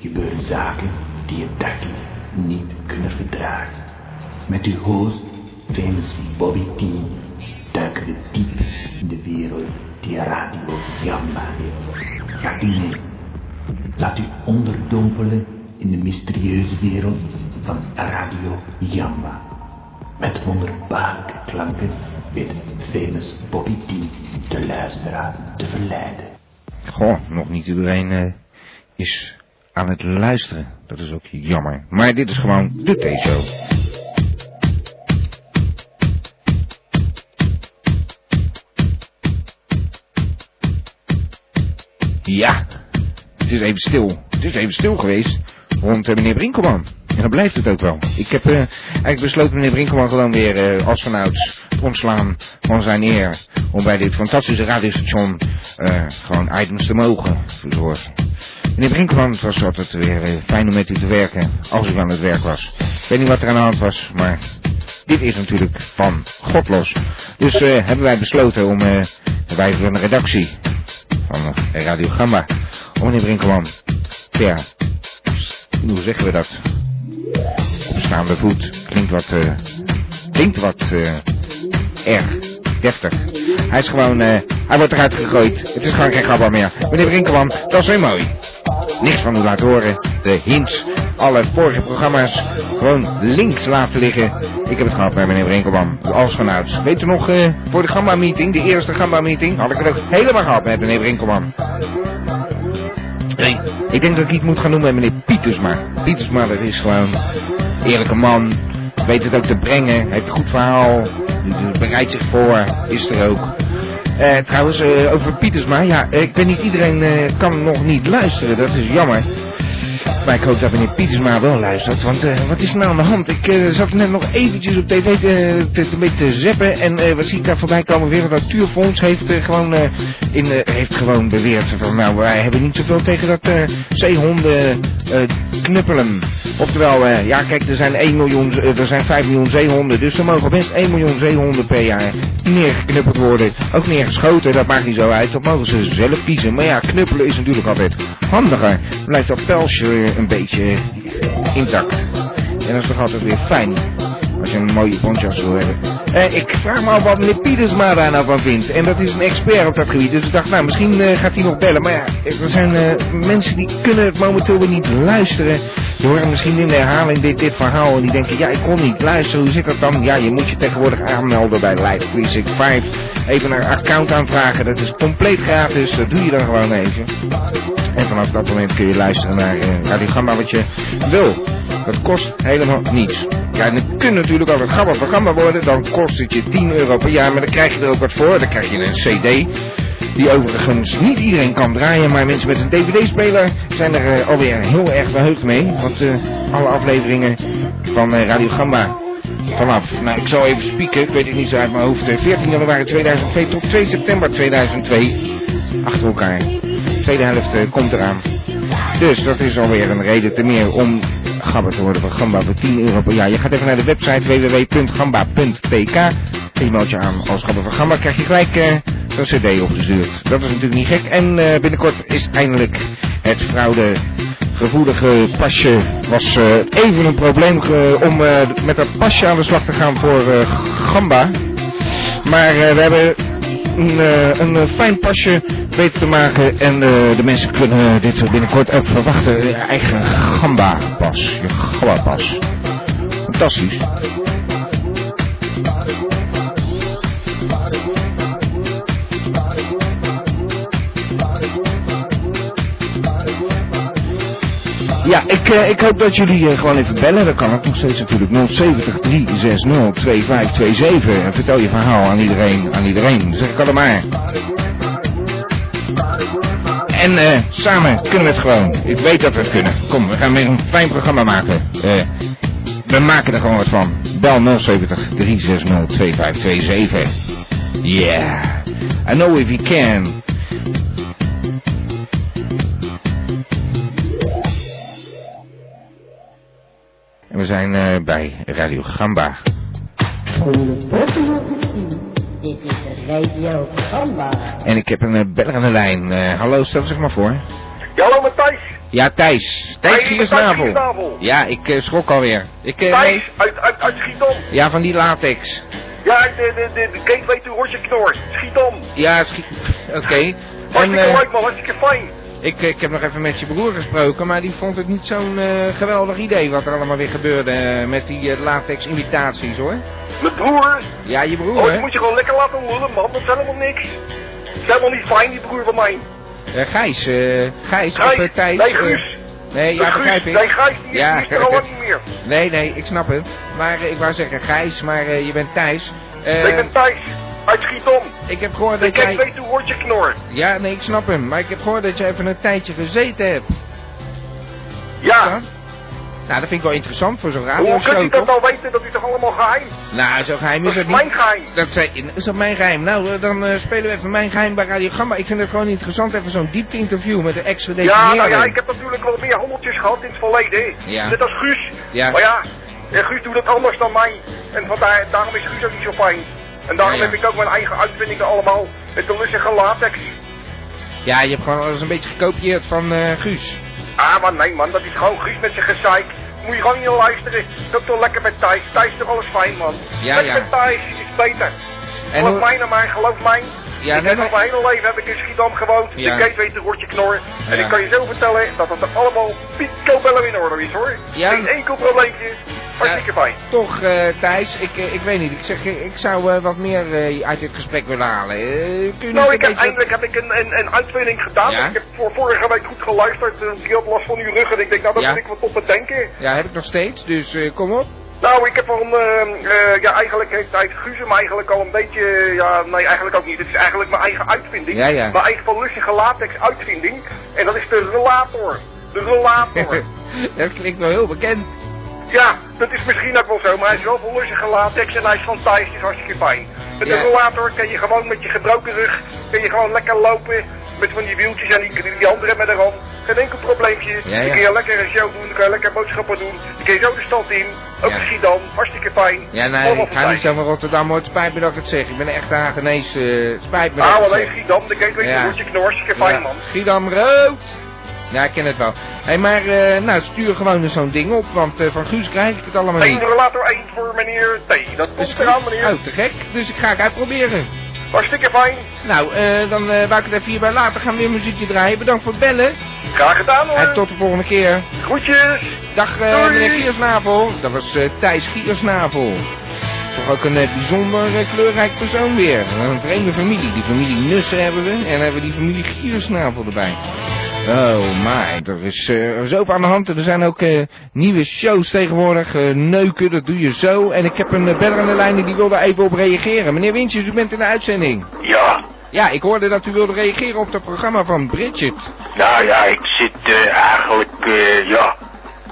gebeuren zaken die je dagelijks niet kunnen verdragen. Met uw host, famous Bobby T, duiken we diep in de wereld die Radio Jamba heeft. Gaat u mee. Laat u onderdompelen in de mysterieuze wereld van Radio Jamba. Met wonderbaarlijke klanken weet famous Bobby T de luisteraar te verleiden. Goh, nog niet iedereen eh, is aan het luisteren. Dat is ook jammer. Maar dit is gewoon de T-show. Ja, het is even stil. Het is even stil geweest rond eh, meneer Brinkelman. En dan blijft het ook wel. Ik heb eh, eigenlijk besloten meneer Brinkelman gewoon weer eh, als vanouds te ontslaan van zijn eer. Om bij dit fantastische radiostation eh, gewoon items te mogen verzorgen. Meneer Brinkelman, het was altijd weer eh, fijn om met u te werken. Als u aan het werk was. Ik weet niet wat er aan de hand was, maar dit is natuurlijk van God los. Dus eh, hebben wij besloten om, eh de wijze van de redactie, van eh, Radio Gamma. Om meneer Brinkelman per, hoe zeggen we dat? Op staande voet. Klinkt wat, eh, klinkt wat eh, erg deftig. Hij is gewoon, eh, hij wordt eruit gegooid. Het is gewoon geen grabber meer. Meneer Brinkelman, dat is weer mooi. Niks van u laten horen. De hints, alle vorige programma's gewoon links laten liggen. Ik heb het gehad met meneer Brinkelman, als vanouds. Weet u nog, eh, voor de Gamma-meeting, de eerste Gamma-meeting, had ik het ook helemaal gehad met meneer Brinkelman. Nee, ik denk dat ik iets moet gaan noemen met meneer Pietersma. Pietersma, dat is gewoon een eerlijke man. Weet het ook te brengen. Heeft een goed verhaal. Bereidt zich voor. Is er ook. Eh, trouwens, eh, over Pietersma. Ja, eh, ik weet niet, iedereen eh, kan nog niet luisteren. Dat is jammer. Maar ik hoop dat meneer Pietersma wel luistert. Want eh, wat is er nou aan de hand? Ik eh, zat net nog eventjes op tv te, te, te, mee te zeppen. En eh, wat zie ik daar voorbij komen? Weer het Natuurfonds heeft, eh, gewoon, eh, in, eh, heeft gewoon beweerd van... Nou, wij hebben niet zoveel tegen dat eh, zeehonden eh, knuppelen. Oftewel, eh, ja kijk, er zijn, 1 miljoen, eh, er zijn 5 miljoen zeehonden. Dus er mogen best 1 miljoen zeehonden per jaar neergeknuppeld worden. Ook neergeschoten, dat maakt niet zo uit. Dat mogen ze zelf kiezen. Maar ja, knuppelen is natuurlijk altijd handiger. Blijft dat pelsje een beetje intact. En dat is toch altijd weer fijn. Als je een mooie ponchas wil hebben. Eh, ik vraag me af wat meneer Pietersma daar nou van vindt. En dat is een expert op dat gebied. Dus ik dacht, nou, misschien eh, gaat hij nog bellen. Maar ja, er zijn eh, mensen die kunnen het momenteel weer niet luisteren. Die horen misschien in de herhaling dit, dit verhaal. En die denken, ja, ik kon niet luisteren. Hoe zit dat dan? Ja, je moet je tegenwoordig aanmelden bij Live 365. Even een account aanvragen. Dat is compleet gratis. Dat doe je dan gewoon even. En vanaf dat moment kun je luisteren naar eh Radio Gamma wat je wil. Dat kost helemaal niets. Ja, en het kun natuurlijk altijd Gamma van Gamma worden. Dan kost het je 10 euro per jaar. Maar dan krijg je er ook wat voor. Dan krijg je een cd. Die overigens niet iedereen kan draaien. Maar mensen met een dvd-speler zijn er eh, alweer heel erg verheugd mee. Want eh, alle afleveringen van eh, Radio Gamma vanaf, nou ik zal even spieken, ik weet het niet zo uit mijn hoofd, eh, 14 januari 2002 tot 2 september 2002, achter elkaar. De tweede helft eh, komt eraan. Dus dat is alweer een reden te meer om gabber te worden van Gamba voor 10 euro per jaar. Je gaat even naar de website www.gamba.tk, en je meldt je aan als gabber van Gamba, krijg je gelijk eh, een cd opgestuurd. Dat is natuurlijk niet gek en eh, binnenkort is eindelijk het fraude gevoelige pasje was eh, even een probleem eh, om eh, met dat pasje aan de slag te gaan voor eh, Gamba. Maar eh, we hebben een, eh, een eh, fijn pasje weten te maken en eh, de mensen kunnen dit binnenkort ook verwachten. Je eigen Gamba-pas, je Gamba-pas. Fantastisch. Ja, ik, eh, ik hoop dat jullie eh, gewoon even bellen. Dan kan het nog steeds natuurlijk 070 360 2527. En vertel je verhaal aan iedereen, aan iedereen. Zeg ik allemaal. En eh, samen kunnen we het gewoon. Ik weet dat we het kunnen. Kom, we gaan weer een fijn programma maken. Eh, we maken er gewoon wat van. Bel 070 360 2527. Yeah. I know if you can. En we zijn eh, bij Radio Gamba. Dit is Radio Gamba. En ik heb een eh, beller aan de lijn. Eh, hallo, stel zich maar voor. Ja, hallo Matthijs. Ja, Thijs. Thijs Hey, Thijs Giersnavel. Giersnavel. Ja, ik eh, schrok alweer. Ik, eh, Thijs, nee. uit, uit, uit Schiedam. Ja, van die latex. Ja, de, de, de, de gateway to Horsenknor. Schiedam. Ja, schiet. Oké. En Hartstikke eh, leuk man, hartstikke fijn. ik, eh, ik heb nog even met je broer gesproken, maar die vond het niet zo'n eh, geweldig idee wat er allemaal weer gebeurde eh, met die eh, latex-imitaties hoor. Mijn broer, Ja, je broer oh, hè? die moet je gewoon lekker laten lullen man, dat is helemaal niks. Dat is helemaal niet fijn, die broer van mij. Eh, Gijs, eh, Gijs, Gijs, of eh, Thijs. nee eh, Guus. nee, De ja, Guus, begrijp ik. Nee, Gijs, die, Ja. ja. is er al lang niet meer. Nee, nee, ik snap het. Maar eh, ik wou zeggen Gijs, maar eh, je bent Thijs. Eh, ik ben eh, Thijs, uit Schiedam. ik heb gehoord De dat jij... gateway to Horsenknor. Ja, nee, ik snap hem. Maar ik heb gehoord dat je even een tijdje gezeten hebt. Ja. Nou, dat vind ik wel interessant voor zo'n Hoe kunt u radioshow, dat toch? nou weten? Dat is toch allemaal geheim? Nou, zo geheim Dat is is het niet. mijn geheim. Dat zei, is dat mijn geheim? Nou, eh, dan eh, spelen we even mijn geheim bij Radio Gamma. Ik vind het gewoon interessant, even zo'n diepte interview met de ex Ja, nou ja, ik heb natuurlijk wel meer handeltjes gehad in het verleden. Ja. Net als Guus. Ja. Maar ja, eh, Guus doet het anders dan mij. En vandaar, daarom is Guus ook niet zo fijn. En daarom Ja, ja. heb ik ook mijn eigen uitvindingen allemaal. Met de lustige latex. Ja, je hebt gewoon alles een beetje gekopieerd van eh, Guus. Ah, maar nee man, dat is gewoon Guus met zijn gezeik. Moet je gewoon niet naar luisteren. Dat toch lekker met Thijs. Thijs is toch alles fijn man. Ja, lekker ja. met Thijs is beter. En geloof hoe- mij naar mij, geloof mij. Ja, ik nee, heb maar- al mijn hele leven heb ik in Schiedam gewoond. Ja. De gateway te Rotje Knor. En Ja. ik kan je zo vertellen dat het allemaal picobello in orde is hoor. Ja. Geen enkel probleempje. Hartstikke Ja, fijn. Toch, eh, Thijs, ik, eh, ik weet niet. Ik zeg, eh, ik zou eh, wat meer eh, uit dit gesprek willen halen. Eh, kun je niet Nou, een ik heb, beetje- eindelijk heb ik een, een, een uitvinding gedaan. Ja. Ik heb voor vorige week goed geluisterd. Eh, Ik had last van uw rug en ik denk, nou, daar Ja. moet ik wat op bedenken. Ja, heb ik nog steeds, dus eh, kom op. Nou, ik heb van, ehm, eh, ja, eigenlijk heeft, heeft Guus hem eigenlijk al een beetje, eh, ja, nee, eigenlijk ook niet. Het is eigenlijk mijn eigen uitvinding. Ja, ja. Mijn eigen van lustige latex uitvinding. En dat is de relator. De relator. dat klinkt wel heel bekend. ja, dat is misschien ook wel zo, maar hij is wel van lustige latex en hij is van Thijs, dus hartstikke fijn. Met Ja. de relator kan je gewoon met je gebroken rug, kan je gewoon lekker lopen. Met van die wieltjes en die, die andere met erom. Geen enkel probleempje. Ja, ja. Dan kun je lekker een show doen, dan kan je lekker boodschappen doen. Dan kun je zo de stad in. Ook Ja. in Schiedam, hartstikke fijn. Ja, nee, Allemaal Ah, ik van ga niet Thijs. zo van Rotterdam, hoor. Het spijt me dat ik het zeg. Ik ben echt Hagenees. eh spijt me dat ik Nou, het alleen zeg. Giedam, de gateway Ja. ja. Roertje Knors, ik heb fijn man. Schiedam rood. Ja, ik ken het wel. Hé, maar eh, nou, stuur gewoon eens zo'n ding op, want eh, van Guus krijg ik het allemaal Eén niet. relator, één voor meneer T. Dat Dus komt eraan goed. meneer. Oh, te gek. Dus ik ga het uitproberen. Hartstikke fijn. Nou, eh, dan eh wou ik het even hierbij laten. Gaan we weer muziekje draaien. Bedankt voor het bellen. Graag gedaan hoor. En tot de volgende keer. Groetjes. Dag eh, Doei. meneer Giersnavel. Dat was eh, Thijs Giersnavel. Toch ook een eh, bijzonder eh, kleurrijk persoon weer. Een vreemde familie. Die familie Nussen hebben we. En dan hebben we die familie Giersnavel erbij. Oh my, er is eh, er is zoveel aan de hand. En Er zijn ook eh, nieuwe shows tegenwoordig. Eh, neuken, dat doe je zo. En ik heb een eh, beller aan de lijn en die wil daar even op reageren. Meneer Wintjes, u bent in de uitzending. Ja, Ja, ik hoorde dat u wilde reageren op het programma van Bridget. nou ja, ik zit eh, eigenlijk, eh, ja,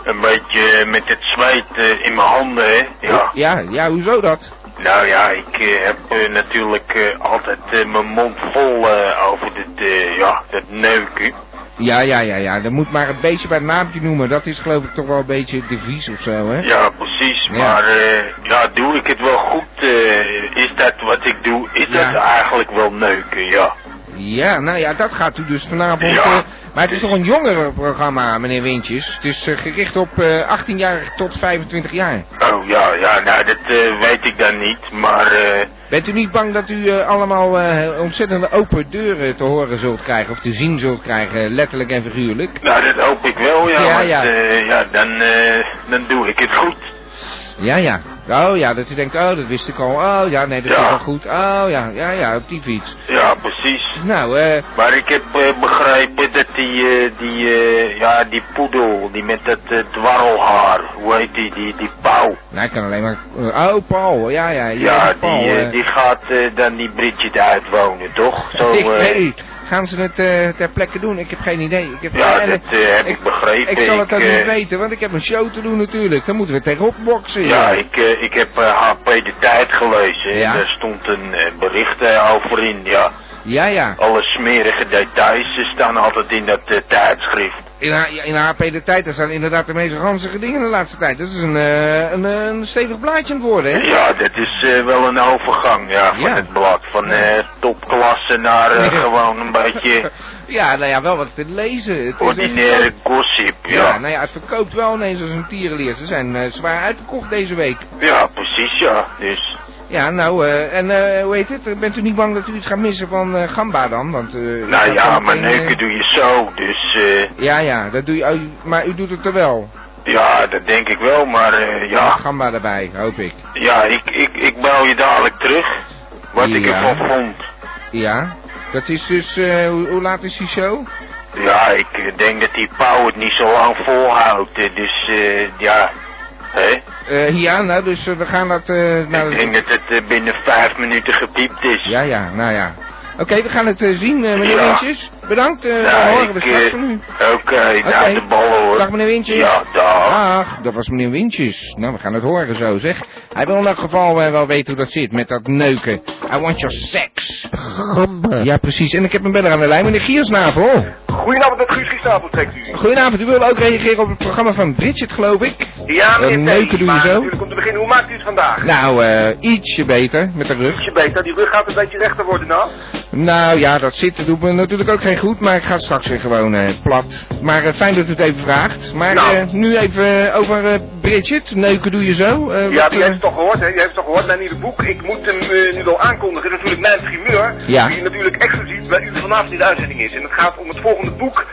een beetje eh, met het zweet eh, in mijn handen, hè. Ja, Ja, ja, hoezo dat? nou ja, ik eh, heb eh, natuurlijk eh, altijd eh, mijn mond vol eh, over dit, eh, ja, dat neuken. Ja, ja, ja, ja. Dat moet maar een beetje bij het naampje noemen. Dat is geloof ik toch wel een beetje devies of zo, hè? Ja, precies, Ja. maar eh, ja, doe ik het wel goed? eh, is dat wat ik doe? Is Ja. dat eigenlijk wel neuken, ja? Ja, nou ja, dat gaat u dus vanavond... Ja. eh, maar het is toch een jongerenprogramma, meneer Wintjes. Het is eh, gericht op eh 18 jaar tot 25 jaar. Oh ja, ja, nou dat eh, weet ik dan niet, maar eh, Bent u niet bang dat u eh, allemaal eh ontzettende open deuren te horen zult krijgen... of te zien zult krijgen, letterlijk en figuurlijk? nou, dat hoop ik wel, ja. Ja, want, ja. eh, ja dan, eh, dan doe ik het goed. Ja, ja. Oh ja, dat u denkt, oh, dat wist ik al. Oh ja, nee, dat Ja. is wel goed. Oh ja, ja, ja, op die fiets. Ja, precies. Nou, eh... Maar ik heb eh, begrepen dat die, eh, die, eh, ja, die poedel, die met dat eh, dwarrelhaar, hoe heet die, die, die pauw. Nou, ik kan alleen maar... Oh, Paul, ja, ja. Ja, Paul, die, eh, eh. die gaat eh, dan die Bridget uitwonen, toch? Zo, ik eh, weet niet. Gaan ze het eh, ter plekke doen? Ik heb geen idee. Ik heb Ja, en- dat eh, heb ik, begrepen. Ik zal het ook eh, niet weten, want ik heb een show te doen natuurlijk. Dan moeten we tegenop boksen. Ja, ik, eh, ik heb eh, HP de Tijd gelezen. Ja. En daar stond een eh, bericht eh, over in, ja. Ja, ja. Alle smerige details eh, staan altijd in dat eh, tijdschrift. In, H- in HP de tijd, daar staan inderdaad de meest ranzige dingen de laatste tijd. Dat is een, eh, een, eh, een stevig blaadje aan het worden, hè? Ja, dat is eh, wel een overgang, ja, van Ja. het blad. Van eh, topklasse naar eh, Ja. gewoon een beetje Ja, nou ja, wel wat te lezen. Het is echt ordinaire leuk. gossip, Ja, ja. nou ja, het verkoopt wel ineens als een tierenleer. Ze zijn eh, zwaar uitverkocht deze week. Ja, precies, ja. Dus, Ja, nou, eh, en eh, hoe heet het? Bent u niet bang dat u iets gaat missen van eh, Gamba dan? Want, eh, u nou gaat ja, zometeen, maar eh, neuken doe je zo, dus... eh, Ja, ja, dat doe je, oh, u- maar u doet het er wel. Ja, dat denk ik wel, maar eh, Met ja, Gamba erbij, hoop ik. ja ik, ik, ik bel je dadelijk terug. Wat ik Ja. ervan vond. Ja, dat is dus, eh, hoe, hoe laat is die show? Ja, ik eh, denk dat die pauw het niet zo lang volhoudt. eh, Dus eh, ja, hè? Eh, ja, nou, dus eh, we gaan dat eh, naar... ik denk dat het eh, binnen vijf minuten gepiept is. Ja, ja, nou ja. Oké, we gaan het eh, zien, eh, meneer Ja. Wintjes. Bedankt, eh Nou, we horen we ik, straks eh, van u. Oké, nou Oké. de ballen hoor. Dag meneer Ah, Wintjes. Ja, dag. Dag, dat was meneer Wintjes. Nou, we gaan het horen zo, zeg. Hij wil in elk geval eh, wel weten hoe dat zit met dat neuken. I want your sex. Ja, precies. En ik heb een beller aan de lijn, meneer Giersnavel. Goedenavond, met Guus Giesnapel trekt u. Goedenavond, u wilde ook reageren op het programma van Bridget, geloof ik. Ja, meneer Een leuke Thijs, doe je maar zo. natuurlijk om te beginnen, hoe maakt u het vandaag? Nou, eh, ietsje beter met de rug. Ietsje beter, die rug gaat een beetje rechter worden nou. Nou ja, dat zitten doet me natuurlijk ook geen goed, maar ik ga straks weer gewoon eh, plat. Maar eh, fijn dat u het even vraagt. Maar Nou. eh, nu even eh, over eh, Bridget. Neuken doe je zo. Eh, Ja, wat, die eh, heeft het toch gehoord, hè? Die heeft het toch gehoord, mijn nieuwe boek. Ik moet hem eh, nu wel aankondigen. Dat is natuurlijk mijn primeur. Ja. Die natuurlijk exclusief bij u vanavond in de uitzending is. En het gaat om het volgende boek.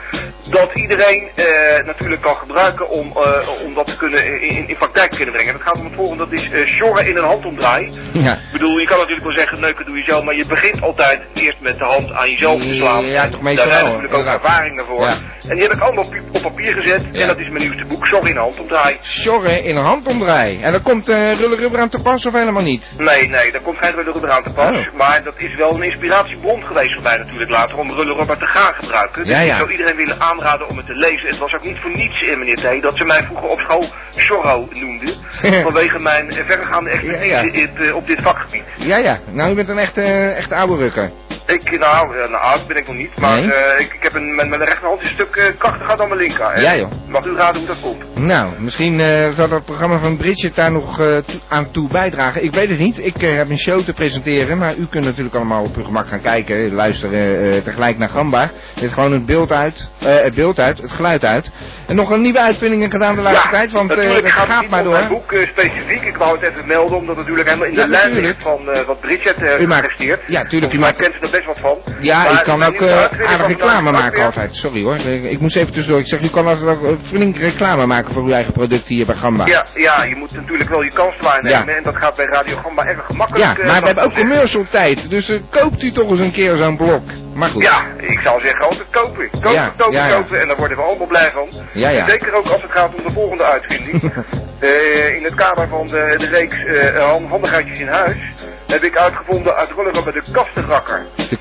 Dat iedereen eh, natuurlijk kan gebruiken om, eh, om dat te kunnen in, in- in praktijk te kunnen brengen. En het gaat om het volgende, dat is eh sjorren in een handomdraai. Ja. Ik bedoel, je kan natuurlijk wel zeggen, neuken doe je zelf, maar je begint altijd eerst met de hand aan jezelf te slaan. Ja, En toch meestal Daar zijn wel, natuurlijk ook inderdaad. ervaring daarvoor. Ja. En die heb ik allemaal op pu- op papier gezet. Ja. En dat is mijn nieuwste boek, Sorry in de handomdraai. Sjorren in een handomdraai. En dan komt eh Rulle Rubber aan te pas of helemaal niet? Nee, nee, daar komt geen Rulle Rubber aan te pas. Oh. Maar dat is wel een inspiratiebron geweest voor mij natuurlijk later om Rulle Rubber te gaan gebruiken. Dus Ja, ja. ik zou iedereen willen aanraden om het te lezen. Het was ook niet voor niets, eh, meneer T, dat ze mij vroeger op school Sorro noemden. vanwege mijn eh, verregaande expertise Ja, ja. in, eh, op dit vakgebied. Ja, ja. Nou, u bent een echte, echt oude rukker. Ik, nou, eh, nou, oud ben ik nog niet, maar Nee? eh, ik, ik heb een, mijn, mijn rechterhand een stuk eh, krachtiger dan mijn linker. En Ja, joh. Mag u raden hoe dat komt? Nou, misschien eh, zal dat programma van Bridget daar nog eh, toe- aan toe bijdragen. Ik weet het niet. Ik eh, heb een show te presenteren, maar u kunt natuurlijk allemaal op uw gemak gaan kijken, luisteren eh, tegelijk naar Gamba. Er zit gewoon het beeld uit, eh, het beeld uit, het geluid uit. En nog een nieuwe uitvindingen gedaan de laatste tijd, want eh natuurlijk dat gaat het gaat niet maar om Mijn door. boek eh, specifiek, ik wou het even melden, omdat het natuurlijk helemaal in Ja, de lijn natuurlijk. ligt van eh, wat Bridget heeft U maakt- gepresteerd. ja, tuurlijk, u Volgens mij maakt- kent ze er best wat van. Ja, Maar ik kan mijn ook nieuwe eh, uitvinding aardig van reclame vandaag maken weer- altijd. Sorry hoor, ik, ik moest even tussendoor. Ik zeg, u kan altijd ook eh, flink reclame maken voor uw eigen product hier bij Gamba. Ja, ja, je moet natuurlijk wel je kans waarnemen Ja. en dat gaat bij Radio Gamba erg gemakkelijk. Ja, eh, dat maar we hebben ook te zeggen. commercial tijd, dus eh, koopt u toch eens een keer zo'n blok. Maar goed. Ja, ik zou zeggen altijd kopen. Kopen, Ja, kopen, ja, ja. kopen en daar worden we allemaal blij van. Ja, ja. Zeker ook als het gaat om de volgende uitvinding. Eh, in het kader van de, de reeks eh, hand- handigheidjes in huis heb ik uitgevonden uit rollerrubber de kastenrakker. De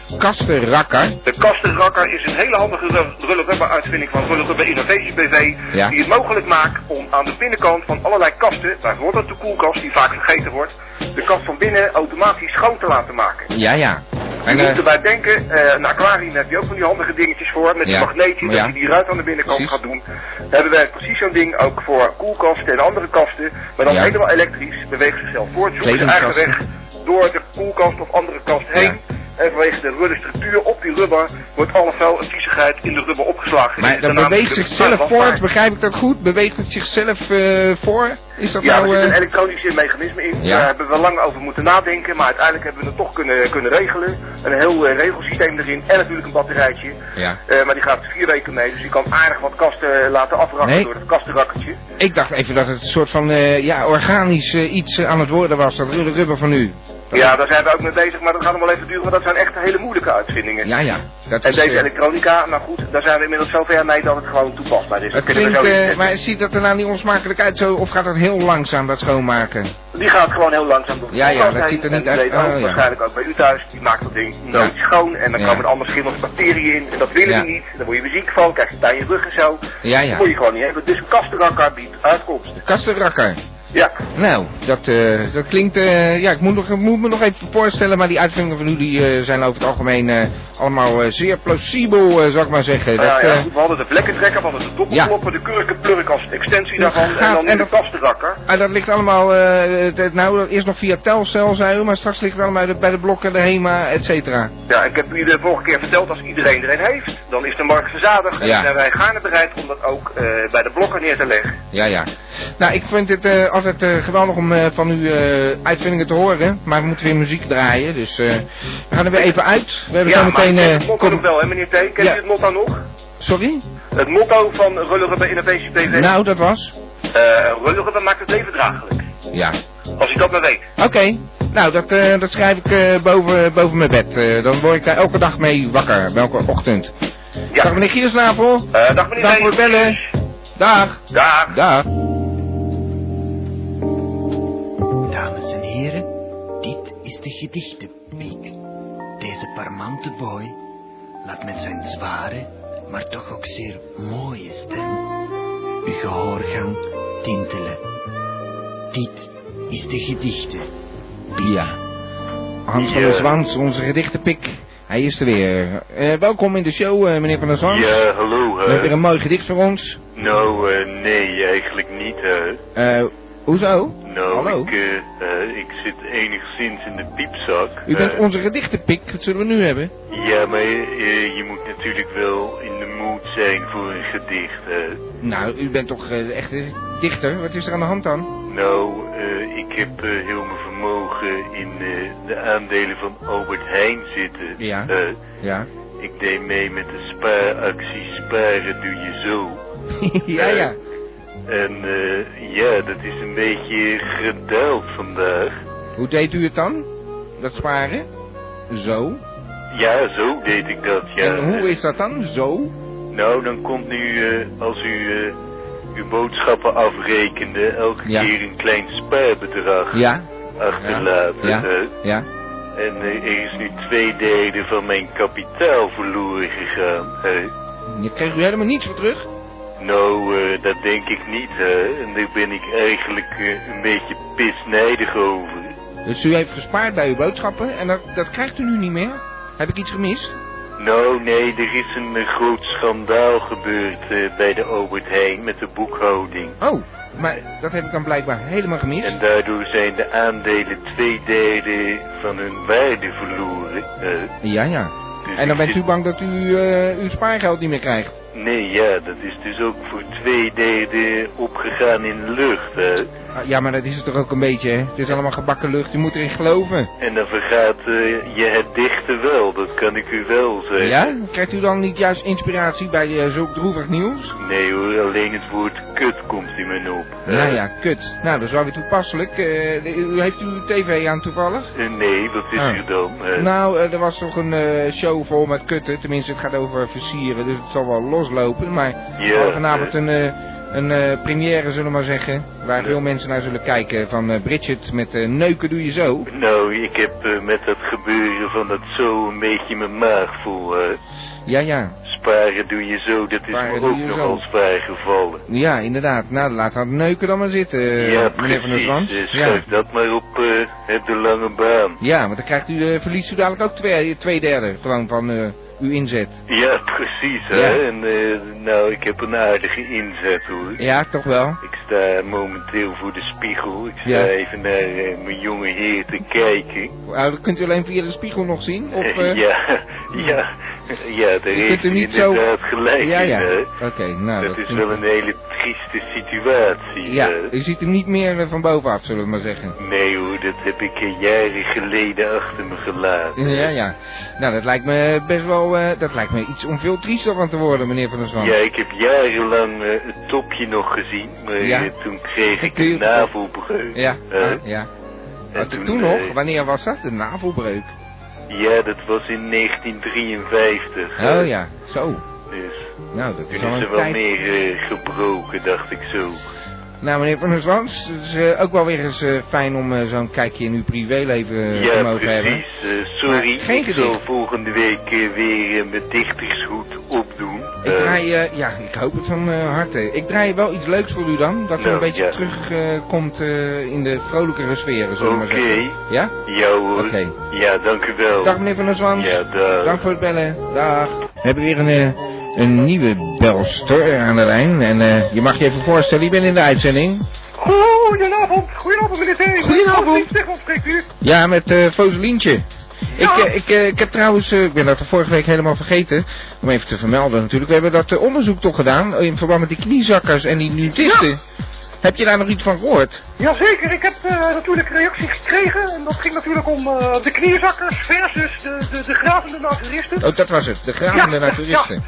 kastenrakker. De kastenrakker is een hele handige ru- rullerubber uitvinding van Rullerubber Innovatie BV. Ja. Die het mogelijk maakt om aan de binnenkant van allerlei kasten, bijvoorbeeld de koelkast die vaak vergeten wordt, de kast van binnen automatisch schoon te laten maken. Ja, ja. Je En, moet eh, erbij denken, eh, een aquarium heb je ook van die handige dingetjes voor, met Ja, een magneetje, ja. dat je die ruit aan de binnenkant Precies. gaat doen. Hebben wij precies zo'n ding ook voor koelkasten en andere kasten, maar dan Ja. helemaal elektrisch, beweegt zichzelf voort, zoekt zijn eigen Kledingkasten. weg door de koelkast of andere kast heen. En vanwege de rubber structuur op die rubber wordt alle vuil en viezigheid in de rubber opgeslagen. maar Dit is dat daarna beweegt natuurlijk zichzelf uitwasbaar. voort, begrijp ik dat goed? Beweegt het zichzelf eh, voor? Is dat Ja, er nou... zit eh, een elektronisch mechanisme in. Ja. Daar hebben we lang over moeten nadenken, maar uiteindelijk hebben we het toch kunnen, kunnen regelen. Een heel eh, regelsysteem erin en natuurlijk een batterijtje. Ja. Eh, maar die gaat vier weken mee, dus je kan aardig wat kasten eh, laten afrakken Nee. door het kastenrakkertje. Ik dacht even dat het een soort van eh, ja, organisch eh, iets eh, aan het worden was, dat rulle rubber van u. Ja, daar zijn we ook mee bezig, maar dat gaat nog wel even duren, want dat zijn echt hele moeilijke uitvindingen. Ja, ja. Dat En is, eh, deze elektronica, nou goed, daar zijn we inmiddels zover mee dat het gewoon toepasbaar is. het Dat kunnen we klinkt, zo eh, inzetten. maar ziet dat er nou niet onsmakelijk uit zo, of gaat dat heel langzaam, dat schoonmaken? Die gaat gewoon heel langzaam door. de Ja, ja, koelkast dat heen. ziet er niet En die uit. weet ook Oh, ja. Waarschijnlijk ook bij u thuis. Die maakt dat ding nooit schoon. En dan Ja. komen er allemaal schimmels bacteriën in. En dat willen Ja. we niet. Dan word je muziek van. Krijg je het aan je rug en zo. Ja, ja. Dat moet je gewoon niet hebben. Dus kastrakker biedt uitkomst. Kastenrakker. Ja. Nou, dat, eh, dat klinkt... eh, ja, ik moet, nog, ik moet me nog even voorstellen, maar die uitvindingen van u die, eh, zijn over het algemeen eh, allemaal eh, zeer plausibel, eh, zou ik maar zeggen. Nou Dat, ja, eh, goed, we hadden de vlekkentrekker, we hadden de doppelklopper, de kurkenplurk als extensie Dat daarvan en gaat- dan en nu de dat- kastenrakker. ah, dat ligt allemaal... eh, het- het- nou, dat is nog via Telcel, zei u, maar straks ligt het allemaal bij de, bij de blokken, de HEMA, et cetera. Ja, ik heb u de vorige keer verteld, als iedereen er een heeft, dan is de markt verzadigd en Ja. dan zijn wij gaarne bereid om dat ook eh, bij de blokken neer te leggen. Ja, ja. Nou, ik vind het eh, altijd eh, geweldig om eh, van uw eh, uitvindingen te horen. Maar we moeten weer muziek draaien, dus eh, we gaan er weer even uit. We hebben ja, zo meteen... maar ik eh, ken het motto kom- nog wel, hè meneer T? Kent Ja. u het motto nog? Sorry? Het motto van Rullerubbe in de PCTV? Nou, dat was... Eh, Rullerubbe maakt het leven draaglijk. Ja. Als u dat maar weet. Oké. Nou, dat, eh, dat schrijf ik eh, boven, boven mijn bed. Eh, dan word ik daar elke dag mee wakker, elke ochtend. Ja. Dag meneer Giersnavel. Eh, dag meneer Dank T. voor het bellen. Dag. Dag. Dag. Dames en heren, dit is de gedichtenpiek. Deze parmante boy laat met zijn zware, maar toch ook zeer mooie stem uw gehoorgang tintelen. Dit is de gedichten. Ja. Hans eh, van der Zwans, onze gedichtenpik. Hij is er weer. Eh, welkom in de show, eh, meneer van der Zwans. Ja, hallo. We hebben weer hè. een mooi gedicht voor ons. Nou, eh, nee, eigenlijk niet. hè. Eh, hoezo? Nou, Hallo? Ik, eh, eh, ik zit enigszins in de piepzak. U bent Eh, onze gedichtenpik, dat zullen we nu hebben. Ja, maar eh, je moet natuurlijk wel in de mood zijn voor een gedicht. hè. Nou, u bent toch eh, echt een dichter? Wat is er aan de hand dan? Nou, eh, ik heb eh, heel mijn vermogen in eh, de aandelen van Albert Heijn zitten. Ja. Eh, Ja. ik deed mee met de spaaractie Sparen Doe Je Zo. ja, ja. En eh, ja, dat is een beetje gedaald vandaag. Hoe deed u het dan? Dat sparen? Zo. Ja, zo deed ik dat, ja. en hoe is dat dan? Zo? Nou, dan komt nu, eh, als u eh, uw boodschappen afrekende, elke Ja. keer een klein spaarbedrag Ja. achterlaten. Eh, Ja. hè. Ja. En eh, er is nu twee derde van mijn kapitaal verloren gegaan. hè. Je kreeg u helemaal niets voor terug? Nou, eh, dat denk ik niet, hè. En daar ben ik eigenlijk eh, een beetje pisnijdig over. Dus u heeft gespaard bij uw boodschappen en dat, dat krijgt u nu niet meer? Heb ik iets gemist? Nou, nee, er is een eh, groot schandaal gebeurd eh, bij de Albert Heijn met de boekhouding. Oh, maar dat heb ik dan blijkbaar helemaal gemist. En daardoor zijn de aandelen twee derde van hun waarde verloren. eh. Ja, ja. Dus En dan ik bent zit- u bang dat u eh, uw spaargeld niet meer krijgt. Nee, ja, dat is dus ook voor twee derde opgegaan in lucht. hè. Ah, Ja, maar dat is het toch ook een beetje, hè? Het is allemaal gebakken lucht, u moet erin geloven. En dan vergaat eh, je het dichter wel, dat kan ik u wel zeggen. Ja? Krijgt u dan niet juist inspiratie bij eh, zulk droevig nieuws? Nee hoor, alleen het woord kut komt in mijn op. hè. Nou ja, kut. Nou, dat is wel weer toepasselijk. Eh, de- u- heeft u uw tv aan toevallig? Eh, nee, wat is Ah. er dan? hè? Nou, eh, er was toch een eh, show vol met kutten. Tenminste, het gaat over versieren, dus het zal wel loslopen. Maar we hadden vanavond hè. een, eh, een eh, première, zullen we maar zeggen. Waar Ja. veel mensen naar zullen kijken. Van eh, Bridget met eh, Neuken doe je zo. Nou, ik heb eh, met dat gebeuren van dat zo een beetje mijn maag vol. hè. Ja, ja. Sparen doe je zo, dat is Sparen me doe ook je nogal zo. zwaar gevallen. Ja, inderdaad. Nou, laat dat Neuken dan maar zitten, eh, ja, meneer Van der precies. Zwans. eh, ja. Schuif dat maar op eh, het de lange baan. ja, want dan krijgt u, eh, verliest u dadelijk ook twee, twee derde gewoon van eh, uw inzet. Ja, precies. Ja. Hè? En, eh, nou, ik heb een aardige inzet hoor. Ja, toch wel. Ik sta momenteel voor de spiegel. Ik sta Ja. even naar eh, mijn jonge heer te kijken. Nou, dat kunt u alleen via de spiegel nog zien? Of, eh, ja, ja, ja, daar Je kunt heeft er u niet zo- inderdaad gelijk ja, in. ja. hè. Oké, nou. dat is klinkt- wel een hele trieste situatie. Ja, hè. u ziet hem niet meer eh, van bovenaf, zullen we maar zeggen. Nee hoor, dat heb ik eh, jaren geleden achter me gelaten. Ja, ja. Nou, dat lijkt me best wel, eh, dat lijkt me iets om veel triester van te worden, meneer Van der Zwan. Ja, ik heb jarenlang eh, het topje nog gezien, maar Ja. eh, toen kreeg ik Kun je- een navelbreuk. Ja, Eh, ah, ja. en Wat, toen, eh, nog? Wanneer was dat? De navelbreuk. Ja, dat was in 1953. eh, Oh ja, zo. Dus Nou, dat is toen is al er een wel tijd. meer eh, gebroken, dacht ik zo. Nou, meneer Van der Zwans, het is eh, ook wel weer eens eh, fijn om eh, zo'n kijkje in uw privéleven eh, te ja, mogen hebben. precies. eh, sorry, Maar geen ik zal gedicht. volgende week eh, weer eh, mijn dichtershoed opdoen. Ik Eh, draai, eh, ja, ik hoop het van eh, harte. Ik draai wel iets leuks voor u dan, dat u Nou, een beetje ja. terugkomt eh, in de vrolijkere sferen, zullen we maar Oké. zeggen. Ja? Ja hoor. Oké. Ja, dank u wel. Dag meneer Van der Zwans. Ja, dag. Dank voor het bellen. Dag. We hebben weer een, eh, een nieuwe belster aan de lijn. En eh, je mag je even voorstellen, je bent in de uitzending. Goedenavond, goedenavond meneer Teven. Goedenavond. Zeg, spreekt u? Ja, met eh Fozelientje. Ja. Ik, eh, ik, eh, ik heb trouwens, eh, ik ben dat de vorige week helemaal vergeten, om even te vermelden natuurlijk. We hebben dat eh, onderzoek toch gedaan, in verband met die kniezakkers en die nudisten. Heb je daar nog iets van gehoord? Jazeker, ik heb eh, natuurlijk reacties gekregen. En dat ging natuurlijk om eh, de knierzakkers versus de, de, de gravende naturisten. Oh, dat was het. De gravende Ja, naturisten.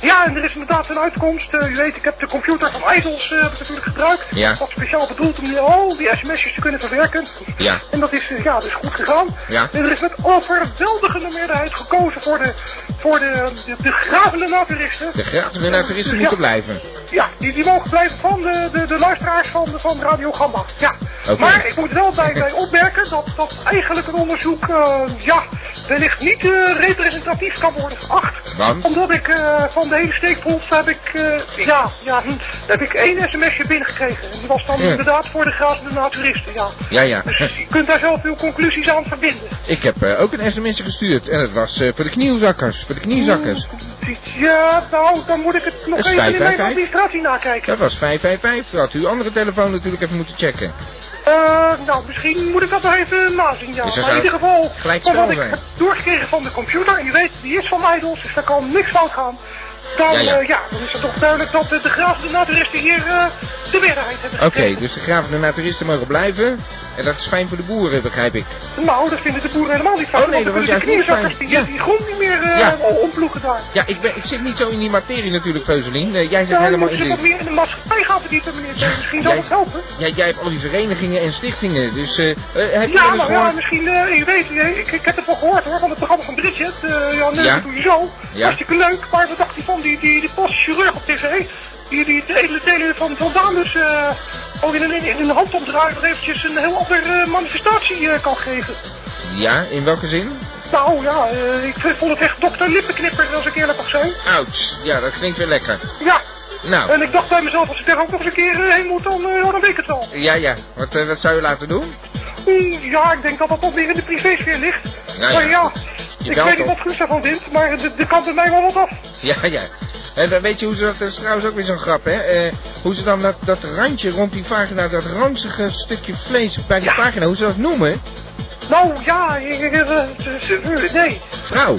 Ja, en er is inderdaad een uitkomst. Eh, u weet, ik heb de computer van IJsels eh, heb ik natuurlijk gebruikt. Ja. Wat speciaal bedoeld om die, al die sms'jes te kunnen verwerken. Ja. En dat is, eh, ja, dat is goed gegaan. Ja. En er is met overweldigende meerderheid gekozen voor de, voor de, de, de gravende naturisten. De gravende naturisten moeten blijven. Ja, die, die mogen blijven van de, de, de luisteraars van, van Radio Gamba. Ja. Oké. Maar ik moet wel bij, bij opmerken dat, dat eigenlijk een onderzoek eh, ja, wellicht niet eh, representatief kan worden geacht. Want? Omdat ik eh, van de hele steekproef heb ik, eh, ja, ja, hm, heb ik één sms'je binnengekregen. En die was dan Ja. inderdaad voor de grazende naturisten, ja. Ja, ja. Dus je kunt daar zelf uw conclusies aan verbinden. Ik heb eh, ook een sms gestuurd. En het was eh, voor de kniezakkers. Voor de kniezakkers. Mm. Ja, nou, dan moet ik het nog Dat is even in fijn, mijn fijn. administratie nakijken. Dat was 555. Dat had u andere telefoon natuurlijk even moeten checken. Eh, nou, misschien moet ik dat nog even nazien, ja. Dus er maar in zou ieder geval, gelijk van wat spel ik zijn. heb doorgekregen van de computer, en je weet, die is van Idols, dus daar kan niks fout gaan. Dan, Ja, ja, ja. ja. dan is het toch duidelijk dat eh, de graaf de naturisten hier eh, de meerderheid hebben Oké, gekregen. dus de gravende naturisten mogen blijven. En dat is fijn voor de boeren, begrijp ik. Nou, dat vinden de boeren helemaal niet fout, dus- Oh, nee, want dat dan kunnen wordt de juist kniezakkers die, niet fijn. Ja. die grond niet meer eh Ja. omploegen daar. Ja, ik, ben, ik zit niet zo in die materie natuurlijk, Feuselien. Eh, jij zit Ja, je helemaal moet in ze wat de... meer in de maatschappij gaan verdiepen, meneer. Teun. misschien zal jij- het helpen. Ja, jij hebt al die verenigingen en stichtingen. Dus eh, eh, heb je Ja, wel eens maar ja, gehoord- misschien, eh, je weet, eh, ik, ik heb het wel gehoord hoor, van het programma van Bridget. eh ja, leuk, Ja. dat doe je zo. Ja. Hartstikke leuk, maar wat dacht hij van die, die, die postchirurg op tv? Die, die het hele tele van, van Dames eh ook in een, in een handomdraai nog eventjes een heel andere manifestatie eh, kan geven. Ja, in welke zin? Nou ja, eh, ik vond het echt dokter Lippenknipper, als ik eerlijk mag zijn. Oud. Ja, dat klinkt weer lekker. Ja, Nou, en ik dacht bij mezelf, als ik daar ook nog eens een keer eh, heen moet, dan, eh, ja, dan weet ik het wel. ja, ja. Wat, eh, wat zou je laten doen? Mm, Ja, ik denk dat dat toch meer in de privésfeer ligt. Nou maar ja, ja, je ik belt weet niet op. wat Guus daarvan vindt, maar de, de kan bij mij wel wat af. Ja, ja. En dan weet je hoe ze dat, dat is trouwens ook weer zo'n grap, hè? Eh, hoe ze dan dat, dat randje rond die vagina, dat ranzige stukje vlees bij die Ja. vagina, hoe ze dat noemen? Nou ja, ik- ik- eh, ze- ze- nee, Vrouw.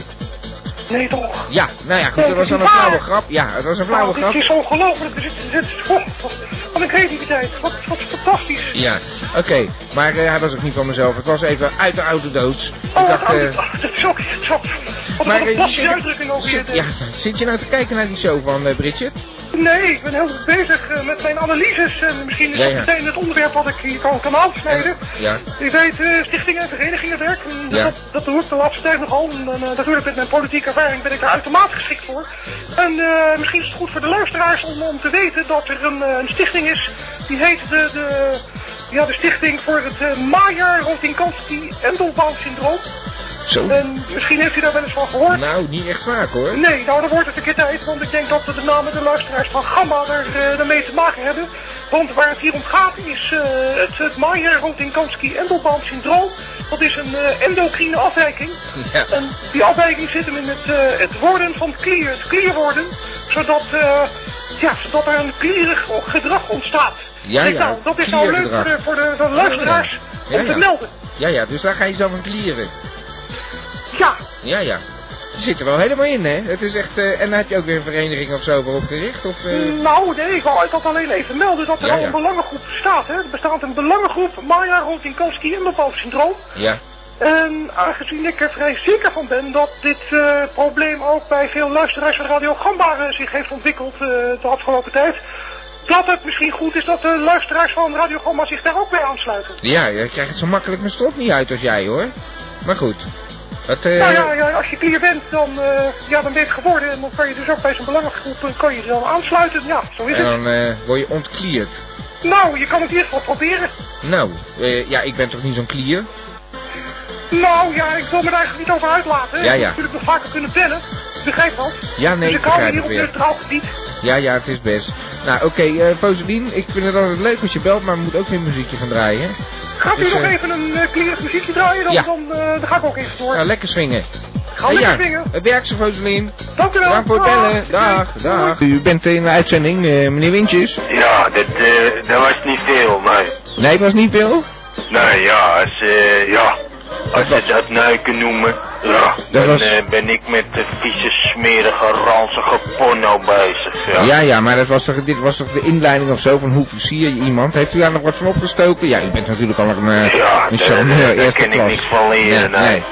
nee toch. Ja, nou ja, goed, Nee, dat was dat is dan een niet flauwe waar. grap. Ja, dat was een flauwe Nou, dit grap. is ongelooflijk, dit is, dit is oh, wat- wat een creativiteit, wat, wat fantastisch. Ja, oké. Maar eh, hij was ook niet van mezelf. Het was even uit de oude doos. Ik Oh, dacht, dat, eh, oh, dat is ook, zo, wat maar, een eh, plastische zit- uitdrukking ook weer. eh. zit, ja, zit je nou te kijken naar die show van eh, Bridget? Nee, ik ben heel goed bezig eh, met mijn analyses en misschien is Ja, dat ja. meteen het onderwerp wat ik hier kan, kan aansnijden. Ja. U weet, eh, stichtingen en verenigingenwerk, en Ja. dat, dat doe ik de laatste tijd nogal. En eh, natuurlijk met mijn politieke ervaring ben ik daar uitermate geschikt voor. En eh, misschien is het goed voor de luisteraars om, om te weten dat er een, eh, een stichting is, die heet de, de, ja, de Stichting voor het eh Maier Rotinkanski Endelbaum Syndroom. Zo. En misschien heeft u daar wel eens van gehoord. Nou, niet echt vaak hoor. Nee, nou dan wordt het een keer tijd, want ik denk dat de namen de luisteraars van Gamma er eh, daarmee te maken hebben. Want waar het hier om gaat is eh, het, het Maier-Rodinkansky-Endelbaum-syndroom. Dat is een eh, endocrine afwijking. Ja. En die afwijking zit hem in het, eh, het worden van het klier, het klier worden, zodat, eh, ja, zodat er een klierig gedrag ontstaat. Ja, Kijk ja, nou, dat is nou leuk voor de, kliergedrag. voor de, de luisteraars Ja, om te ja. melden. Ja, ja, dus daar ga je zelf aan klieren. Ja, Ja, ja. Je zit er wel helemaal in, hè? Het is echt... eh, en dan heb je ook weer een vereniging of zo voor opgericht? Of, eh, Nou, nee, ik wou ik had alleen even melden dat er Ja, al ja. een belangengroep bestaat. Hè. Er bestaat een belangengroep Maya Rodinkovski en bepaald syndroom. Ja. En aangezien ik er vrij zeker van ben dat dit eh, probleem ook bij veel luisteraars van Radio Gamba eh, zich heeft ontwikkeld eh, de afgelopen tijd, dat het misschien goed is dat de luisteraars van Radio Gamba zich daar ook bij aansluiten. Ja, je krijgt zo makkelijk mijn strot niet uit als jij, hoor. Maar goed. Wat, eh, Nou ja, ja, als je klier bent, dan, eh, ja, dan ben je het geworden en dan kan je dus ook bij zo'n belangengroep eh, kan je je dan aansluiten. Ja, zo is En het. dan eh, word je ontklierd. Nou, je kan het in ieder geval proberen. Nou, eh, ja, ik ben toch niet zo'n klier? Nou ja, ik wil me daar eigenlijk niet over uitlaten. Ja, Ik moet ja. natuurlijk nog vaker kunnen bellen. Begrijp dat? Ja, nee, dus ik ik hou me begrijp hier het op weer. neutraal gebied. Ja, ja, het is best. Nou, oké, eh Foselien, ik vind het altijd leuk als je belt, maar we moeten ook geen muziekje gaan draaien. Gaat u Dus, nog eh, even een eh klierig muziekje draaien? Dan, ja. dan, eh, dan ga ik ook even door. Nou, lekker swingen. ga Eh, lekker ja, zingen. Het werkt zo, Foselien. Dank u wel. Bedankt voor het Dag. bellen. Dag, dag. U bent in de uitzending, eh, meneer Wintjes. Ja, dat, eh, dat was niet veel, nee. Nee, het was niet veel. Nou ja, als, eh, ja. als was- je dat neuken noemen, ja, dan was- eh, ben ik met de vieze, smerige, ranzige porno bezig. Ja, Ja, ja, maar dat was toch, dit was toch de inleiding of zo van hoe versier je iemand? Heeft u daar nog wat van opgestoken? Ja, u bent natuurlijk al een, eh, Ja, een daar- charmeur daar eerste ken ik klas. niks van leren, nee, nee. nee.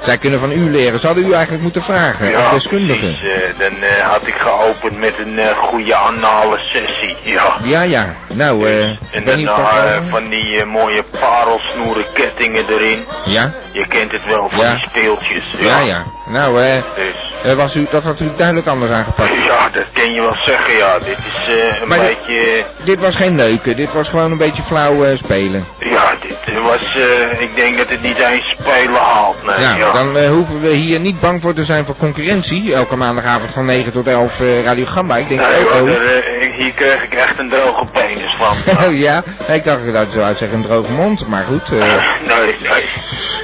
Zij kunnen van u leren. Ze hadden u eigenlijk moeten vragen, Ja, als deskundige. precies, eh, dan eh, had ik geopend met een eh, goede anale sessie, ja. Ja, ja. Nou, eh, ik en ben dan niet nog, van- eh, van die eh, mooie parelsnoeren kettingen erin. Ja? Je kent het wel, van Ja. die speeltjes. Ja, ja. Nou, eh, Dus, eh, was u, dat had u duidelijk anders aangepakt. ja, dat kan je wel zeggen, ja. Dit is eh, een Maar dit- beetje... eh, Dit was geen neuken, dit was gewoon een beetje flauw eh, spelen. Ja, dit was, eh, ik denk dat het niet eens spelen haalt. Nee, ja, Nou, dan eh, hoeven we hier niet bang voor te zijn voor concurrentie. Elke maandagavond van 9 tot 11 eh, Radio Gamba. Ik denk, Nee, oh, hoor, oh. daar, eh, ik- hier kreeg ik echt een droge penis van. Oh ja, ik dacht dat zou zeggen een droge mond, maar goed. eh. nee, nee.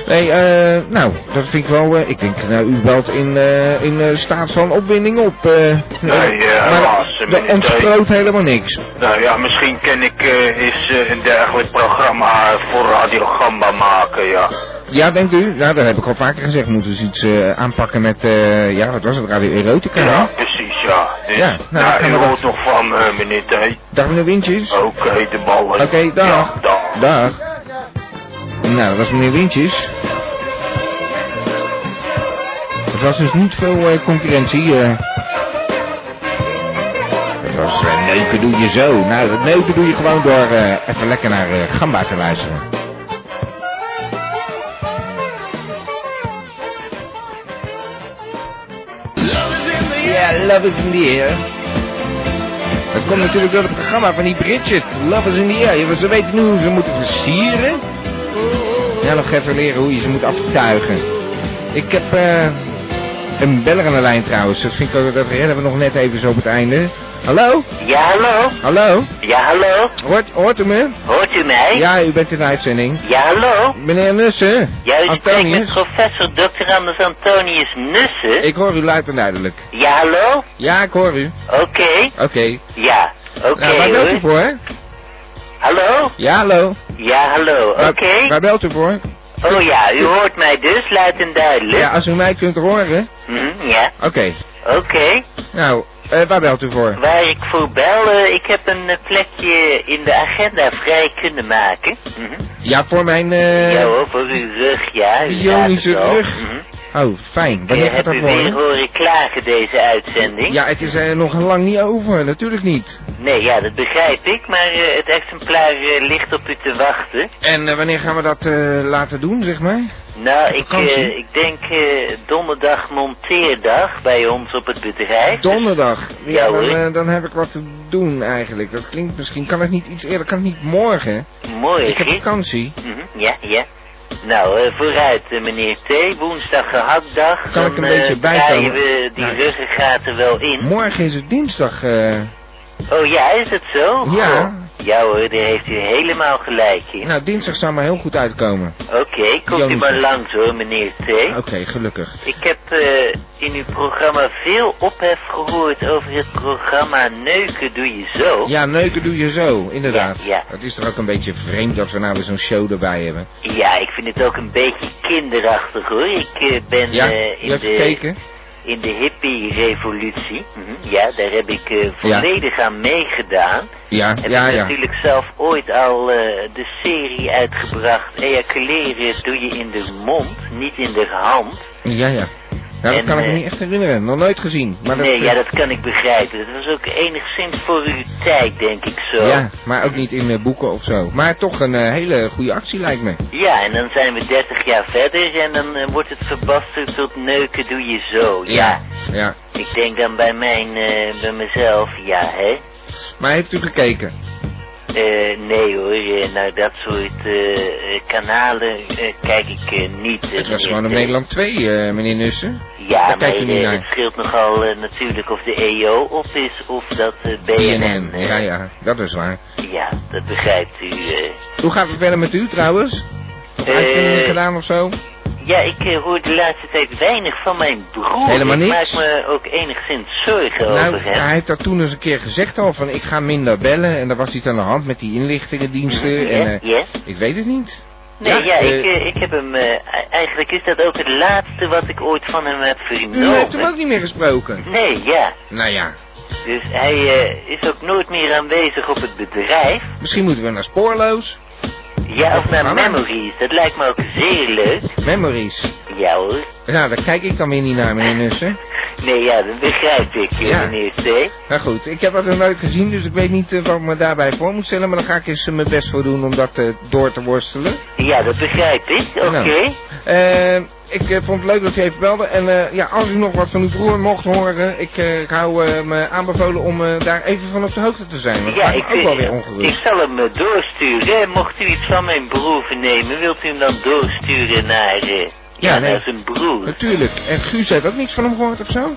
nee, eh, nou, dat vind ik wel. eh, ik denk, nou, u belt in, eh, in eh, staat van opwinding op. eh. Nee, ja, maar helaas, er- meneer er Teun. ontsproot helemaal niks. Nou ja, misschien kan ik eh, eens eh, een dergelijk programma voor Radio Gamba maken, ja. Ja, denkt u? Nou, dat heb ik al vaker gezegd. Moeten we eens iets eh, aanpakken met, eh, ja, wat was het, Radio Erotica? hè? Ja, precies, ja. Dus, Ja, nou, nou, dan gaan u we dat- hoort nog van eh meneer T. Dag meneer Wintjes. Oké, de ballen. Oké, dag. Ja, dag. Dag. Nou, dat was meneer Wintjes. Het was dus niet veel eh, concurrentie. eh. Het was eh, neuken doe je zo. Nou, dat neuken doe je gewoon door eh, even lekker naar eh, Gamba te luisteren. Ja, love is in the air. Dat komt natuurlijk door het programma van die Bridget. Love is in the air. Ja, maar Ze weten nu hoe ze moeten versieren. Ja, nog even leren hoe je ze moet aftuigen. Ik heb eh, een beller aan de lijn trouwens. Dat vind ik ook, dat redden we nog net even zo op het einde. Hallo? Ja, hallo. Hallo? Ja, hallo. Hoort, hoort u me? Hoort u mij? Ja, u bent in de uitzending. Ja, hallo. Meneer Nussen? Jij Antonius? professor Dr. Anders Antonius Nussen. Ik hoor u luid en duidelijk. Ja, hallo. Ja, ik hoor u. Oké. Oké. Ja, oké nou, waar belt u hoor. voor? Hallo? Ja, hallo. Ja, hallo. Oké. Waar- Waar belt u voor? Oh ja, u hoort mij dus, luid en duidelijk. Ja, als u mij kunt horen. Hm, ja. Oké. Oké. Nou, eh, waar belt u voor? Waar ik voor bel, eh, ik heb een eh, plekje in de agenda vrij kunnen maken. Mhm. Ja, voor mijn... eh, Ja hoor, voor uw rug, ja. u Ionische laat het al. rug. Mhm. Oh, fijn. Eh, Wanneer gaat heb dat u weer worden? horen klagen deze uitzending? Ja, het is er nog lang niet over. Natuurlijk niet. Nee, ja, dat begrijp ik, maar eh, het exemplaar eh, ligt op u te wachten. En eh, wanneer gaan we dat eh, laten doen, zeg maar? Nou, ik, vakantie? eh, ik denk eh, donderdag monteerdag bij ons op het bedrijf. Dus Donderdag. Ja, dan, hoor. eh, dan heb ik wat te doen eigenlijk. Dat klinkt misschien... Kan het niet iets eerder? Kan het niet morgen? Mooi, Ik heb vakantie. Mhm, Ja, ja. Nou, eh, vooruit, eh, meneer T. Woensdag gehaktdag. Kan ik dan, een beetje eh, draaien bijkomen? we die Nou. ruggengaten wel in. Morgen is het dinsdag. eh. Oh ja, is het zo? Ja. Goh. Ja hoor, daar heeft u helemaal gelijk in. Nou, dinsdag zou maar heel goed uitkomen. Oké, komt u Jonisch. maar langs hoor, meneer T. Oké, gelukkig. Ik heb eh, in uw programma veel ophef gehoord over het programma Neuken Doe Je Zo. Ja, neuken doe je zo, inderdaad. Ja, ja. Het is toch ook een beetje vreemd dat we nou weer zo'n show erbij hebben. Ja, ik vind het ook een beetje kinderachtig hoor. Ik eh, ben Ja, eh, je in, hebt de, gekeken? in de hippie-revolutie. Mhm, Ja, daar heb ik eh, volledig aan meegedaan. Ja, Heb ja, ik ja. natuurlijk zelf ooit al eh, de serie uitgebracht. Ejaculeren doe je in de mond, niet in de hand. Ja, ja. Nou, dat En, kan ik me eh, niet echt herinneren. Nog nooit gezien. Maar dat, nee, eh, ja, dat kan ik begrijpen. Dat was ook enigszins voor uw tijd, denk ik zo. eh, ja, maar ook niet in eh, boeken of zo. Maar toch een eh, hele goede actie lijkt me. Ja, en dan zijn we 30 jaar verder en dan eh, wordt het verbasterd tot neuken doe je zo. ja. Ja. Ik denk dan bij mijn, eh, bij mezelf, ja hè. Maar heeft u gekeken? Eh, nee hoor, eh, naar dat soort eh, eh, kanalen eh, kijk ik eh, niet. eh, Het was meneer gewoon op T. Nederland 2, eh, meneer Nussen. Ja, Daar maar kijk je niet eh, naar. het scheelt nogal eh, natuurlijk of de EO op is of dat eh, BNN. BNN, hè. ja, ja, dat is waar. Ja, dat begrijpt u. eh. Hoe gaat het verder met u trouwens? Wat Eh, uitzendingen gedaan of zo? Ja, ik eh, hoor de laatste tijd weinig van mijn broer. Helemaal ik niks. maak me ook enigszins zorgen Nou, over hem. hij heeft dat toen eens een keer gezegd al, van ik ga minder bellen. En daar was iets aan de hand met die inlichtingendiensten. En, Ja, eh, ja. ik weet het niet. Nee, ja, ja, eh, ik, eh, ik heb hem... eh, e- eigenlijk is dat ook het laatste wat ik ooit van hem heb U vernomen. heeft hem ook niet meer gesproken. Nee, ja. Nou ja, Dus hij eh, is ook nooit meer aanwezig op het bedrijf. misschien moeten we naar Spoorloos. Ja, of naar Maar- Memories. Dat lijkt me ook zeer leuk. Memories. Ja hoor. Nou, daar kijk ik dan weer niet naar, meneer Nussen. Nee, ja, dat begrijp ik, eh, Ja. meneer C. Nou goed, ik heb dat nog nooit gezien, dus ik weet niet eh, wat ik me daarbij voor moet stellen. Maar daar ga ik eens eh, mijn best voor doen om dat eh, door te worstelen. Ja, dat begrijp ik. Oké. Nou. Eh, ik eh, vond het leuk dat u even belde. En eh, ja, als u nog wat van uw broer mocht horen, ik eh, hou eh, me aanbevolen om eh, daar even van op de hoogte te zijn. Want dat Ja, maakt ik, me ook wel eh, weer ik ongerust. zal hem eh, doorsturen. Mocht u iets van mijn broer vernemen, wilt u hem dan doorsturen naar, eh, ja, Ja, nee. naar zijn broer? Natuurlijk. En Guus heeft ook niks van hem gehoord of zo?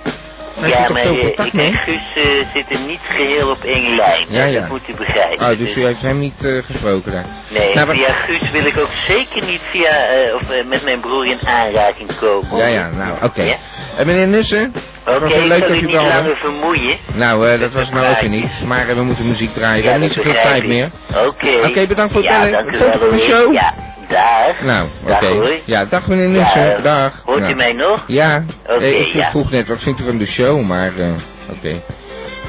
Hij ja, heeft toch maar veel eh, contact ik en mee? Guus eh, zitten niet geheel op één lijn. Ja, ja. Dat moet u begrijpen. Oh, dus u heeft hem niet eh, gesproken daar. Nee, Nou, maar- via Guus wil ik ook zeker niet via, eh, of, eh, met mijn broer in aanraking komen. Ja, ja, nou, oké. Oh. Ja? Eh, meneer Nussen, Oké, dat was heel ik leuk zal dat u u niet belde. langer vermoeien. Nou, eh, dat Met was de nou ook weer plaatjes. niet. Maar eh, we moeten muziek draaien. We Ja, hebben niet dat zoveel begrijp tijd ik. meer. Oké. Oké, bedankt voor het ja, bellen. Dank u Tot wel, de hoor. show. Ja, dag. Nou, oké. Dag hoor. Ja, dag meneer Nussen. Ja, eh, dag. Hoort Nou. u mij nog? Ja, Oké, eh, ik vroeg, ja. vroeg net, wat vindt u van de show, maar eh, oké.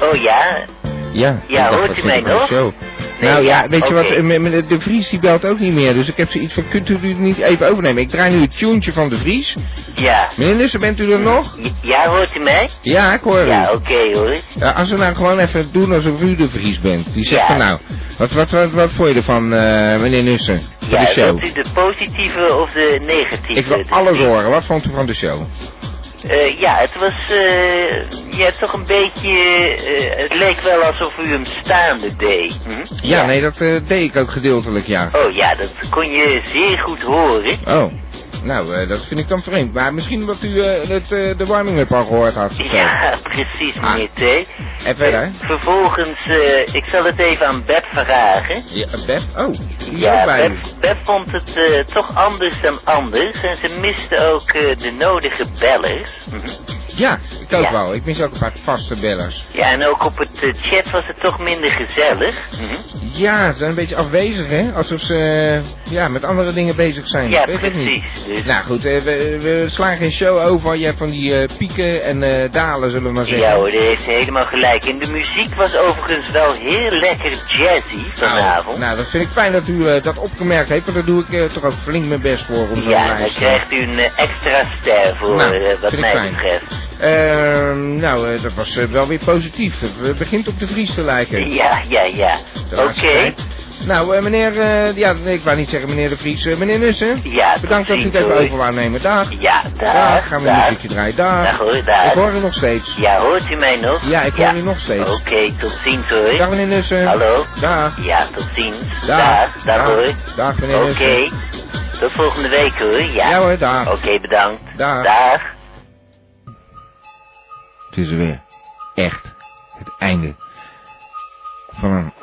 Oh ja, Ja, ik dacht, hoort wat u vindt mij van de nog? show? nou ja, ja, weet je oké. wat, eh, me- me- de Vries die belt ook niet meer, dus ik heb zoiets van, kunt u het niet even overnemen? Ik draai nu het tuentje van de Vries. ja. Meneer Nussen, bent u er nog? J- Ja, hoort u mij? Ja, ik hoor u. Ja, oké hoor. Ja, als we nou gewoon even doen alsof u de Vries bent. Die zegt Ja. van nou, wat, wat, wat, wat vond je ervan, eh, meneer Nussen, van Ja, de show? wilt u de positieve of de negatieve? Ik wil Dus- alles horen, wat vond u van de show? Eh, ja, het was eh, ja, toch een beetje... eh, het leek wel alsof u hem staande deed. Hm? Ja, nee, dat eh, deed ik ook gedeeltelijk, ja. Oh ja, dat kon je zeer goed horen. Oh, nou, eh, dat vind ik dan vreemd. Maar misschien omdat u eh, het, eh, de warming-up al gehoord had. of zo. Ja, precies meneer T. En Ah. verder? Eh, vervolgens, eh, ik zal het even aan Beb vragen. Ja, Beb? Oh, die is ook Ja, bij Beb, Beb vond het eh, toch anders dan anders. En ze miste ook eh, de nodige bellers. u. Ja, ik ook Ja. wel. Ik mis ook een paar vaste bellers. Ja, en ook op het eh, chat was het toch minder gezellig. Ja, ze zijn een beetje afwezig, hè? Alsof ze eh, ja, met andere dingen bezig zijn. Ja, Weet ik niet. precies. Dus, Nou goed, eh, we, we slaan geen show over. Je hebt van die eh, pieken en eh, dalen, zullen we maar zeggen. ja hoor, daar heeft ze helemaal gelijk. En de muziek was overigens wel heel lekker jazzy Nou, vanavond. nou, dat vind ik fijn dat u eh, dat opgemerkt heeft, want daar doe ik eh, toch ook flink mijn best voor. Om zo'n ja, daar lijst, eh, krijgt u een eh, extra ster voor, Nou, eh, wat vind ik mij fijn. betreft. Ehm, nou, eh, dat was eh, wel weer positief. Het eh, begint op de Vries te lijken. Ja, ja, ja. De Oké. laatste tijd. Nou, eh, meneer, eh, ja, nee, ik wou niet zeggen meneer de Vries, eh, meneer Nussen. Ja, tot Bedankt dat u het ziens, even hoor. over wou nemen. Dag. Ja, daar. Dag, gaan we een daar. muziekje draaien. Dag. Dag hoor, dag. Ik hoor u nog steeds. Ja, hoort u mij nog? Ja, ik hoor u nog steeds. Oké, tot ziens hoor. Dag meneer Nussen. Hallo? Dag. Ja, tot ziens. Dag. Dag, dag hoor. Dag, meneer Oké, Nussen. tot volgende week hoor. Ja, Ja hoor, dag. Oké, bedankt. Dag. Dag. Het is er weer. Echt. Het einde. Van een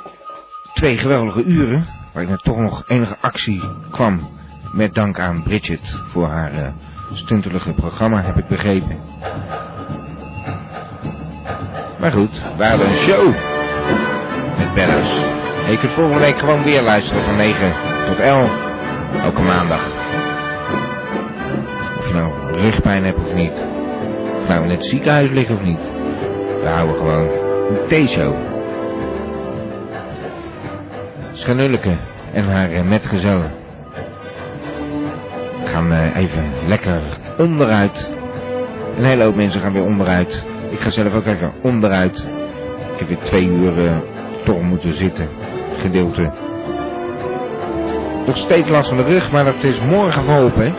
twee geweldige uren. Waarin er toch nog enige actie kwam. Met dank aan Bridget voor haar eh, stuntelige programma, heb ik begrepen. Maar goed, we hadden een show. Met bellers. En je kunt volgende week gewoon weer luisteren van 9 tot 11. Elke maandag. Of je nou rugpijn hebt of niet. Of nou in het ziekenhuis liggen of niet. We houden gewoon een theeshow. Schanulleke en haar eh, metgezellen gaan eh, even lekker onderuit. Een hele hoop mensen gaan weer onderuit. Ik ga zelf ook even onderuit. Ik heb weer twee uur eh, toch moeten zitten. Gedeelte. Nog steeds last van de rug, maar dat is morgen geholpen. hè?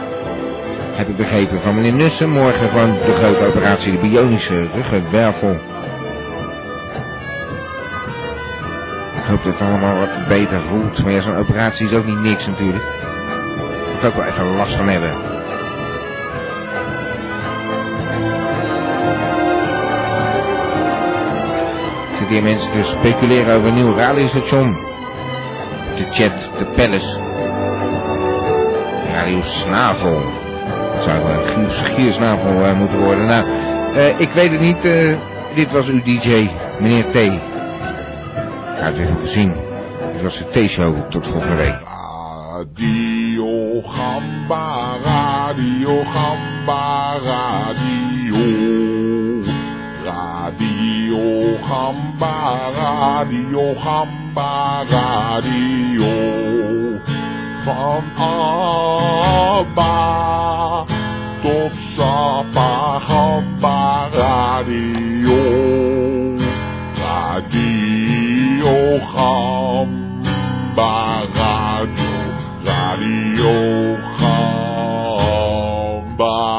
heb ik begrepen van meneer Nussen. Morgen gewoon de grote operatie, de bionische ruggenwervel. Ik hoop dat het allemaal wat beter voelt. Maar ja, zo'n operatie is ook niet niks natuurlijk. Daar moet ik ook wel even last van hebben. zitten die mensen te speculeren over een nieuw radiostation. De chat, de palace. Radio Snavel. Dat zou wel een gier- schiersnavel eh, moeten worden. Nou, eh, ik weet het niet. eh, dit was uw DJ, meneer T. Ik had het even gezien. Dit was de T-show. Tot volgende week. Radio Gamba, Radio Gamba, Radio. Radio Gamba, Radio Gamba, Radio. Van Abba tot Sapa Gamba, Radio. Radio Gamba, Radio. Radio Gamba.